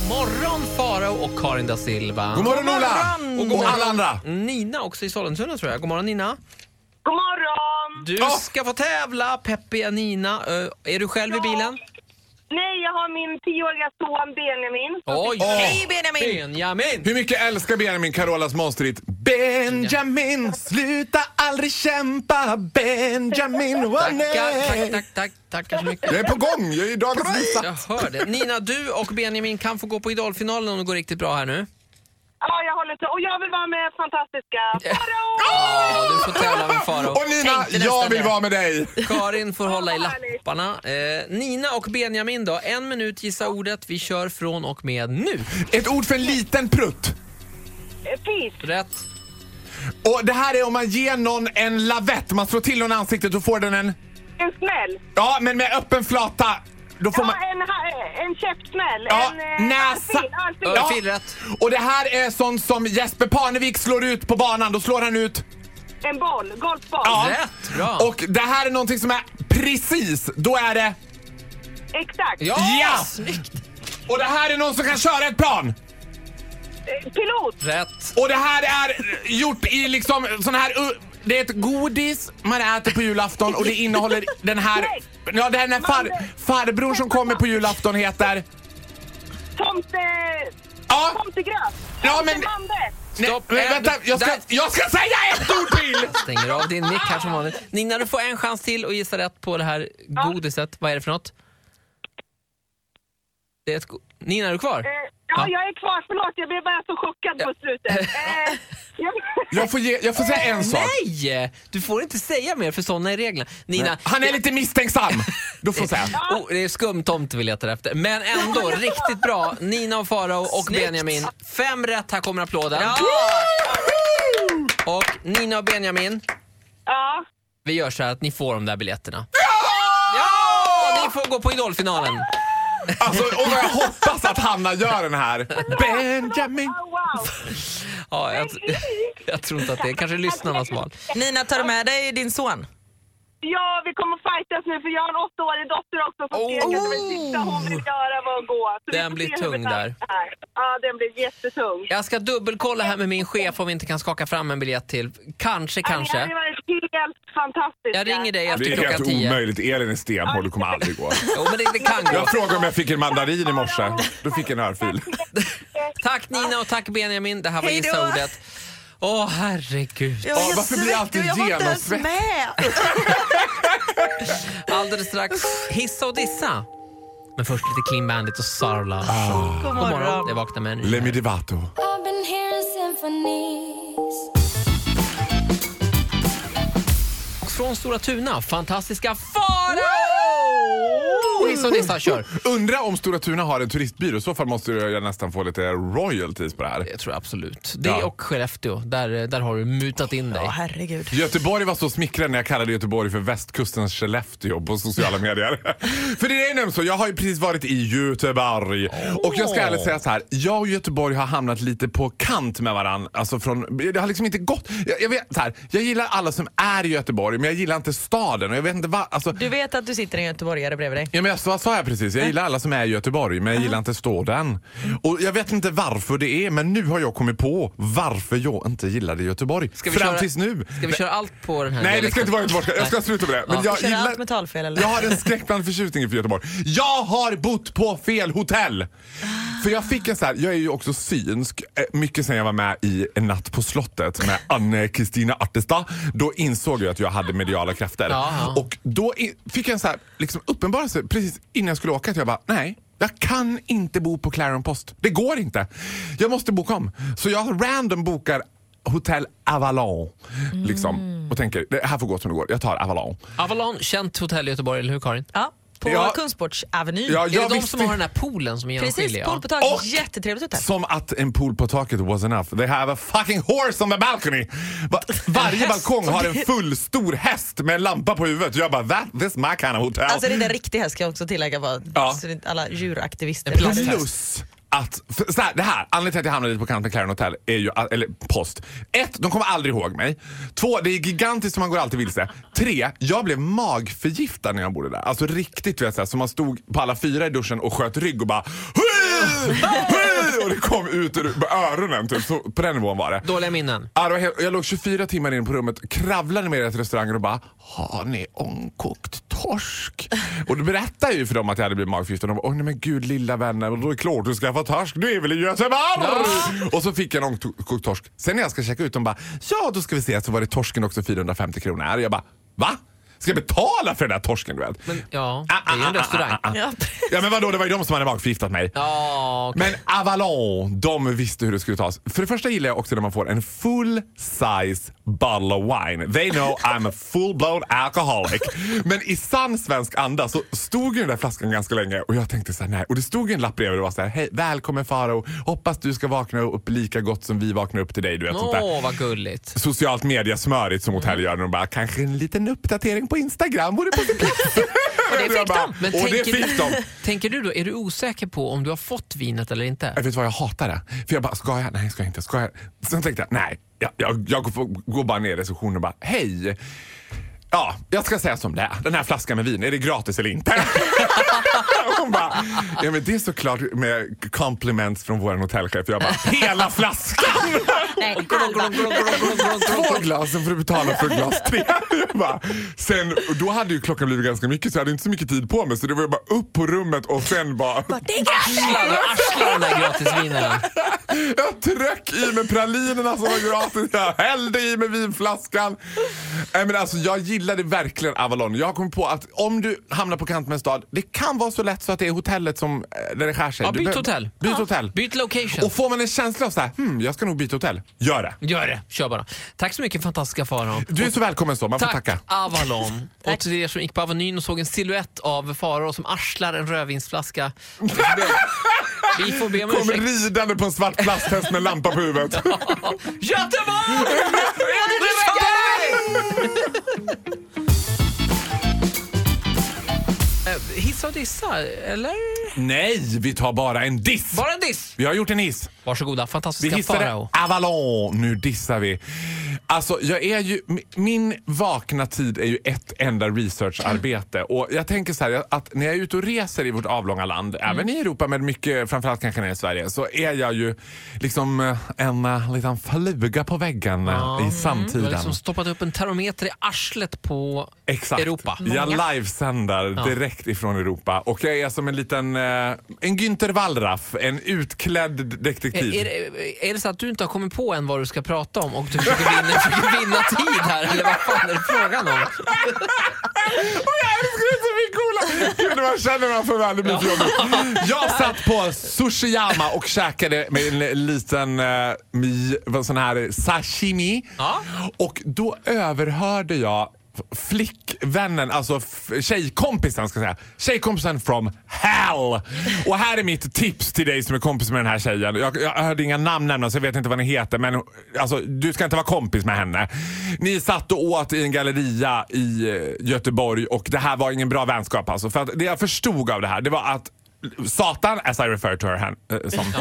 B: Morgon Farao och Karin da Silva.
C: God morgon Ola!
D: morgon!
C: Och, och alla andra!
B: Nina också i Sollentuna tror jag. God morgon Nina.
H: God morgon!
B: Du
C: Ja.
B: ska få tävla, peppiga Nina. Eh, är du själv i bilen?
H: Nej, jag har min tioåriga son Benjamin.
B: Oj!
D: Hej Benjamin!
B: Benjamin!
C: Hur mycket älskar Benjamin Carolas monsterhit Benjamin, sluta aldrig kämpa Benjamin, oh,
B: Tackar, tack,
C: nej.
B: tack, tack, tackar så mycket.
C: Jag är på gång, jag är i dagens visa.
B: Jag hör det. Nina, du och Benjamin kan få gå på Idolfinalen om det går riktigt bra här nu.
H: Ja, jag håller till. Och jag vill vara med fantastiska Farao!
B: Ja, du får tävla med Farao.
C: Och Nina,
D: Tänkte nästan
C: jag vill
D: det.
C: vara med dig!
B: Karin får hålla i
H: vad härligt.
B: lapparna. Eh, Nina och Benjamin då, en minut gissa ordet. Vi kör från och med nu.
C: Ett ord för en liten prutt.
H: Eh, Fis,
B: Rätt.
C: Och det här är om man ger någon en lavett. Man slår till någon i ansiktet och får den en...
H: en smäll.
C: Ja, men med öppen flata. Då får man...
H: Ja, en, ha- eh, en käftsmäll.
C: Ja,
H: en, eh,
C: näsa.
H: örfil, örfil.
C: Ja.
B: Örfil rätt.
C: Och det här är sånt som Jesper Parnevik slår ut på banan. Då slår han ut.
H: En boll, golfboll.
C: Ja.
B: Rätt, bra.
C: Och det här är någonting som är precis. Då är det...
H: Exakt.
B: Ja!
C: Ja!
B: Snyggt!
C: Och det här är någon som kan köra ett plan.
H: Eh, Pilot,
B: Rätt.
C: Och det här är gjort i liksom sån här... u- Det är ett godis man äter på julafton och det innehåller den här... Ja, den här far, farbror som kommer på julafton heter...
H: tomte,
C: Ja,
H: tomtegröt.
C: Ja, men-
H: Tomtebande.
B: Stopp.
C: Nej, men vänta, jag ska,
B: Där.
C: jag ska säga ett ord till!
B: Stänger av din mick här som vanligt. Nina, du får en chans till att gissa rätt på det här godiset. Vad är det för något? Det är ett go- Nina, är du kvar?
H: Eh, Ja, jag är kvar. Förlåt, jag blev bara så chockad på slutet. Eh, jag,
C: Jag får, ge, jag får säga en sak.
B: Nej! Du får inte säga mer för sådana är reglerna. Nina,
C: Han är lite misstänksam. Du får Ah, säga.
B: oh, det är skum tomte vi letar efter. Men ändå riktigt bra. Nina och Farao och Benjamin. Fem rätt, här kommer applåden.
D: Ah!
B: Och Nina och Benjamin,
H: ja.
B: vi gör så här att ni får de där biljetterna. Ja! Ni får gå på Idolfinalen.
C: Alltså, och jag hoppas att Hanna gör den här. Benjamin.
H: Oh, wow.
B: Ja, jag, jag tror inte att det är kanske lyssnarnas val.
D: Nina, tar du med dig din son?
H: Ja, vi kommer fightas nu för jag har en åttaårig dotter också som skrek att det var det sista hon vill göra var att gå. Så vi
B: Den
H: får
B: blir
H: se hur vi
B: tung
H: tar
B: där.
H: det här. Ja, den blir jättetung.
B: Jag ska dubbelkolla här med min chef om vi inte kan skaka fram en biljett till. Kanske,
H: Ja, Det hade
B: kanske.
H: varit helt fantastiskt.
B: Jag ringer dig
C: Det
B: efter
C: är
B: klockan
C: helt
B: tio.
C: omöjligt. Elin är stenhård. Det kommer aldrig gå.
B: Jo, men det, det kan gå.
C: Jag frågade om jag fick en mandarin i morse. Då fick jag en örfil.
B: Tack Nina och tack Benjamin. Det här var
D: Hej då.
B: Gissa ordet. Åh herregud.
D: Jag var helt
C: varför blir jag alltid
D: svettig och Jag var inte ens
C: genomsvettig?
D: med.
B: Alldeles strax hissa och dissa. Men först lite Clean Bandit och Sara Larsson.
C: Ah.
D: God
B: God morgon.
D: morgon.
B: Jag vaknar med en ny.
C: Lemmy Divato.
F: I've been hearing symphonies.
B: Från Stora Tuna, fantastiska Farao! Hissa och dissa, kör.
C: Undra om Stora Tuna har en turistbyrå. I så fall måste jag nästan få lite royalties på det här.
B: Jag tror absolut. Det
C: Ja.
B: och Skellefteå, där, där har du mutat in dig.
D: Ja, herregud.
C: Göteborg var så smickrande när jag kallade Göteborg för västkustens Skellefteå på sociala medier. för det är ju nämligen så, jag har ju precis varit i Göteborg. Och jag ska ärligt säga så här, jag och Göteborg har hamnat lite på kant med varandra. Alltså från, det har liksom inte gått. Jag, jag, vet, så här, jag gillar alla som är i Göteborg, men jag gillar inte staden. Och jag vet inte vad, alltså,
D: Du vet att du sitter en göteborgare bredvid dig?
C: Ja, men jag, vad sa jag precis? Jag gillar alla som är i Göteborg, men jag gillar inte staden. Och jag vet inte varför det är, men nu har jag kommit på varför jag inte gillade Göteborg.
B: Ska vi
C: Fram
B: köra-
C: tills nu.
B: Ska vi köra allt på den här
C: Nej, det
B: dialekten?
C: ska inte vara göteborgska. Jag ska sluta med det. Men jag,
D: Kör
C: gillar,
D: allt med talfel eller?
C: jag har en skräckblandad förtjusning för Göteborg. Jag har bott på fel hotell! För jag fick en så här, jag är ju också synsk, eh, mycket sen jag var med i En natt på slottet med Anne-Kristina Artesta. Då insåg jag att jag hade mediala krafter.
B: Jaha.
C: Och då i- fick jag en så här, liksom uppenbarelse precis innan jag skulle åka att jag bara, nej. Jag kan inte bo på Clarion Post. Det går inte. Jag måste boka om. Så jag random bokar Hotel Avalon. Liksom, och tänker, det här får gå som det går. Jag tar Avalon.
B: Avalon, känt hotell i Göteborg, eller hur Karin?
D: Ja, på
C: Ja.
D: Kungsportsavenyn.
C: Ja,
B: Är
C: jag
B: det de
C: visste-
B: som har den här poolen som är
D: Precis,
B: genomskinlig?
D: pool på taket.
C: Och-
D: Jättetrevligt hotell.
C: Som att en pool på taket was enough. They have a fucking horse on the balcony! Va- varje
D: häst.
C: balkong har en full stor häst med en lampa på huvudet. Jag bara, that, this my kind of hotel.
D: Alltså det är inte en riktig häst ska jag också tillägga bara.
C: Ja.
D: Så det är inte alla djuraktivister.
B: En plasthäst.
C: Plus att, för, så här, det här, anledningen till att jag hamnade lite på kant med Clarion Hotel, är ju, eller post. Ett, de kommer aldrig ihåg mig. Två, det är gigantiskt som man går alltid vilse. Tre, jag blev magförgiftad när jag bodde där. Alltså riktigt vet jag, så här, så man stod på alla fyra i duschen och sköt rygg och bara "Hui! Hui!" och det kom ut ur öronen typ. Så, på den nivån var det.
B: Dåliga minnen.
C: Ja, det var helt- Jag låg 24 timmar in på rummet, kravlade med till restaurangen och bara “Har ni ångkokt torsk?” Och då berättade jag ju för dem att jag hade blivit magförgiftad. Och de bara “Åh nej men gud lilla vänner, och då är det klart du ska få torsk, du är väl i Göteborg?” Och så fick jag en ångkokt torsk. Sen när jag ska checka ut, de bara “Ja, då ska vi se” så var det torsken också 450 kronor. Jag bara “Va?” Ska jag betala för den där torsken du vet? Ah, Men,
B: Ja, det är ju en restaurang.
D: Ja,
C: Ja men vadå, det var ju de som hade magförgiftat mig.
B: Ja, okej.
C: Men Avalon, de visste hur det skulle tas. För det första gillar jag också när man får en full size bottle of wine. They know I'm a full blown alcoholic. Men i sann svensk anda så stod ju den där flaskan ganska länge och jag tänkte så här, nej. Och det stod ju en lapp bredvid och det var så här, hej välkommen Faro. hoppas du ska vakna upp lika gott som vi vaknar upp till dig. Du vet, sånt
B: Åh,
C: där
B: vad gulligt.
C: socialt media-smörigt som hotell gör. när De bara, kanske en liten uppdatering på Instagram vore på sin plats. och
D: det fick de.
B: Men
C: och det
B: tänker,
C: fick de.
B: tänker du då, är du osäker på om du har fått vinet eller
C: Jag
B: inte?
C: Äh, vet vad jag hatar det. För jag bara, ska jag? Nej, ska jag inte. Ska jag? Sen tänkte jag, nej. Jag, jag, jag går, går bara ner i receptionen och bara, hej. Ja, jag ska säga som det är. Den här flaskan med vin, är det gratis eller inte? Hon bara, ja men det är såklart med compliments från vår hotellchef. Jag bara, hela flaskan!
D: Nej,
C: Två glas för att betala för glas tre. Jag bara, Sen, och då hade ju klockan blivit ganska mycket så jag hade inte så mycket tid på mig. Så det var ju bara upp på rummet och sen bara
B: Arsla, du arslar de där gratisvinerna.
C: Jag tryck i mig pralinerna som var gratis. Jag hällde i mig vinflaskan. Nej, men alltså, jag gillade verkligen Avalon. Jag har kommit på att om du hamnar på kant med en stad, det kan vara så lätt så att det är hotellet som, eh, där det skär sig.
B: Ja,
C: Du
B: byt
C: behöver-
B: hotell.
C: Byt hotell.
B: Byt location.
C: Och får man en känsla av så här, hmm, jag ska nog byta hotell. Gör det.
B: Gör det, kör bara. Tack så mycket fantastiska Farao.
C: Du är så välkommen så, man får
B: Tack
C: tacka.
B: Avalon. Och till er som gick på Avenyn och såg en silhuett av Farao som arslar en rödvinsflaska. Vi får be- Vi får be om
C: Kommer
B: ursäkt.
C: ridande på en svart plasthäst med en lampa på huvudet.
B: Göteborg! Eh, Hissa och dissa, eller?
C: Nej, vi tar bara en diss.
B: Bara en diss!
C: Vi har gjort en hiss.
B: Varsågoda,
C: Vi
B: fantastiska
C: hissade
B: Farao.
C: Avalon. Nu dissar vi. Alltså, jag är ju, mi- min vakna tid är ju ett enda researcharbete. Och jag tänker så här, att när jag är ute och reser i vårt avlånga land,
B: Mm.
C: även i Europa men mycket, framförallt kanske när jag är i Sverige, så är jag ju liksom eh, en eh, liten fluga på väggen eh, i
B: Du
C: samtiden.
B: har liksom stoppat upp en termometer i arslet på
C: Exakt.
B: Europa.
C: Jag livesänder direkt ifrån Europa och jag är som en liten eh, en Günther Wallraff, en utklädd detektiv.
B: Är, är, det- är det så att du inte har kommit på än vad du ska prata om och du försöker vinna, försöker vinna tid här? Eller vad fan är det frågan om?
C: Gud, man känner man för väl, det blir för jobbigt. Jag satt på Sushiyama och käkade med en liten eh, mi, vad sån här sashimi.
B: Ja.
C: Och då överhörde jag flickvännen, alltså f- tjejkompisen ska jag säga. Tjejkompisen from hell! Och här är mitt tips till dig som är kompis med den här tjejen. Jag, jag hörde inga namn nämnas, jag vet inte vad ni heter men alltså, du ska inte vara kompis med henne. Ni satt och åt i en galleria i eh, Göteborg och det här var ingen bra vänskap alltså. För att det jag förstod av det här, det var att Satan, as I refer to her hen- eh, som.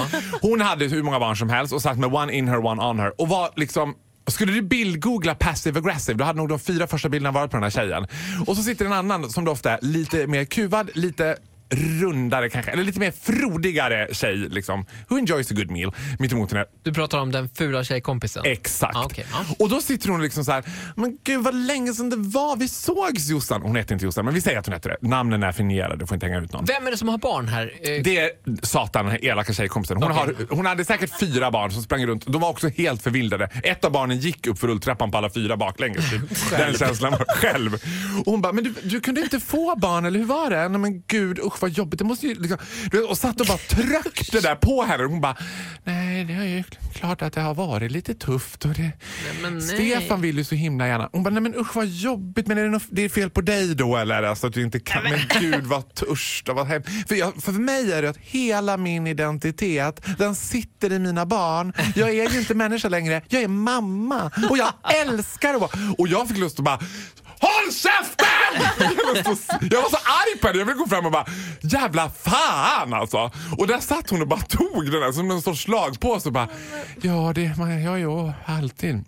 C: Hon hade hur många barn som helst och satt med one in her, one on her. Och var liksom skulle du bildgoogla passive aggressive, då hade nog de fyra första bilderna varit på den här tjejen. Och så sitter en annan som då ofta är lite mer kuvad, lite rundare kanske, eller lite mer frodigare tjej liksom. Who enjoys a good meal, mitt emot henne.
B: Du pratar om den fula tjejkompisen?
C: Exakt.
B: Ah, okej, ja.
C: Och då sitter hon liksom så här, men gud vad länge sedan det var vi sågs Jossan. Hon heter inte Jossan, men vi säger att hon heter det. Namnen är finierade, du får inte hänga ut någon.
B: Vem är det som har barn här? Eh,
C: Det är Satan, den här elaka tjejkompisen. Hon,
B: Okej.
C: har, hon hade säkert fyra barn som sprang runt. De var också helt förvildade. Ett av barnen gick upp för rulltrappan på alla fyra baklänges. Typ. den känslan var själv. Och hon bara, men du, du kunde inte få barn eller hur var det? Nej men gud usch vad jobbigt. Det måste ju liksom... Du vet, Och satt och bara tryckte där på henne. Hon bara, nej det är ju klart att det har varit lite tufft. Och det...
B: men nej.
C: Stefan vill ju så himla gärna. Hon bara, nej men usch vad jobbigt. Men är det, något, det är fel på dig då eller? Alltså att du inte kan. Men gud vad törsta, vad hemskt. För, jag, för mig är det att hela min identitet, den sitter i mina barn. Jag är ju inte människa längre. Jag är mamma. Och jag älskar att vara... Och jag fick lust att bara, HÅLL KÄFTEN! Jag var, så, jag var så arg på henne. Jag ville gå fram och bara, jävla fan alltså. Och där satt hon och bara tog den där som en sorts slagpåse och bara, ja det, man, jag är ju alltid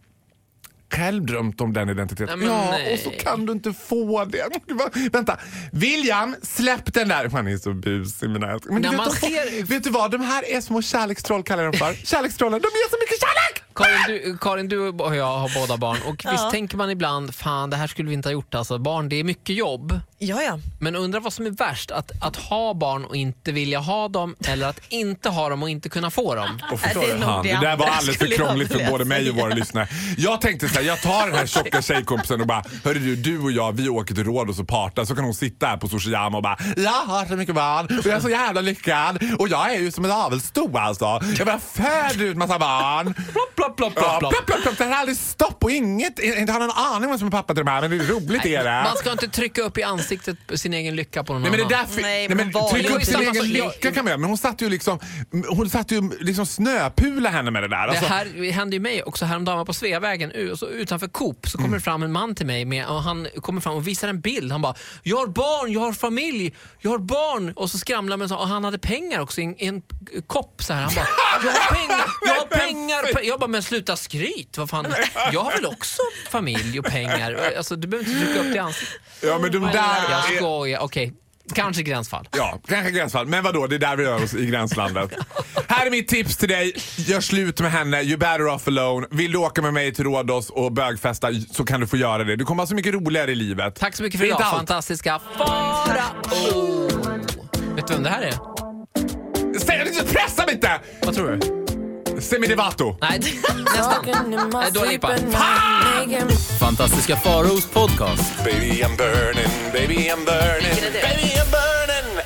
C: själv drömt om den identiteten.
B: Nej, men
C: ja,
B: nej.
C: och så kan du inte få det. Du bara, Vänta, William, släpp den där. Han är så busig mina älskar. Men
B: När
C: vet,
B: man
C: du,
B: ser-
C: vet du vad, de här är små kärlekstroll kallar jag dem för. Kärlekstrollen, de ger så mycket kärlek!
B: Karin, du, Karin, du och jag har båda barn och visst tänker man ibland, fan det här skulle vi inte ha gjort alltså. Barn, det är mycket jobb.
D: Ja, ja.
B: Men undrar vad som är värst, att, att ha barn och inte vilja ha dem eller att inte ha dem och inte kunna få dem?
C: Och
D: förstår det är du? nog
C: Han,
D: det
C: det där var
D: andra
C: alldeles för
D: skulle jag
C: krångligt för
D: vilja
C: både mig och våra lyssnare. Jag tänkte så här, jag tar den här tjocka tjejkompisen och bara, hörru du, du och jag vi åker till Rhodos och partar så kan hon sitta här på Sociama och bara, jag har så mycket barn och jag är så jävla lyckad och jag är ju som en avelsto alltså. Jag bara föder ut massa barn.
B: Plopp, plopp, plopp, plopp,
C: Ja,
B: plopp.
C: plopp, plopp, plopp. Det här är aldrig stopp och inget. Jag inte har någon aning om vem som är pappa till de här men det är roligt är det.
B: Man ska inte trycka upp i ansiktet sin egen lycka på någon
C: Nej men
B: annan.
C: det där fi- nej,
D: Nej, men
C: men
D: vad
C: tryck
B: är
C: upp
B: det?
C: sin
B: Alltså,
C: egen
B: jag-
C: lycka kan man göra. Men hon satt ju liksom, hon satt ju liksom snöpula henne med det där.
B: Det
C: Alltså,
B: här hände ju mig också häromdagen, jag var på Sveavägen u- så utanför Coop så kommer
C: Mm.
B: det fram en man till mig med, och han kommer fram och visar en bild. Han bara “Jag har barn, jag har familj, jag har barn” och så skramlar man så, och han hade pengar också i en, i en k- kopp så här. Han bara “Jag har pengar, jag har pengar”. pe-" Jag bara “Men sluta skryt, vad fan, jag har väl också familj och pengar?” Alltså du behöver inte trycka upp det i ansiktet.
C: Ja men de
D: Oh
C: där
B: Jag
C: är-
B: skojar, okej. Kanske gränsfall.
C: Ja, kanske gränsfall. Men vadå, det är där vi rör oss i gränslandet. Här är mitt tips till dig. Gör slut med henne. You're better off alone. Vill du åka med mig till Rhodos och bögfesta så kan du få göra det. Du kommer ha så mycket roligare i livet.
B: Tack så mycket
C: Det
B: för idag,
C: är inte allt.
B: fantastiska Farao! Vet du vem det här är?
C: Säg- Pressa mig inte!
B: Vad tror du?
C: Semi Devato.
B: Nej, nästan. Nej, Dua Lipa.
I: Fantastiska Faros podcast.
C: Baby I'm burning, baby I'm burning,
B: Vilken är det?
C: baby I'm burning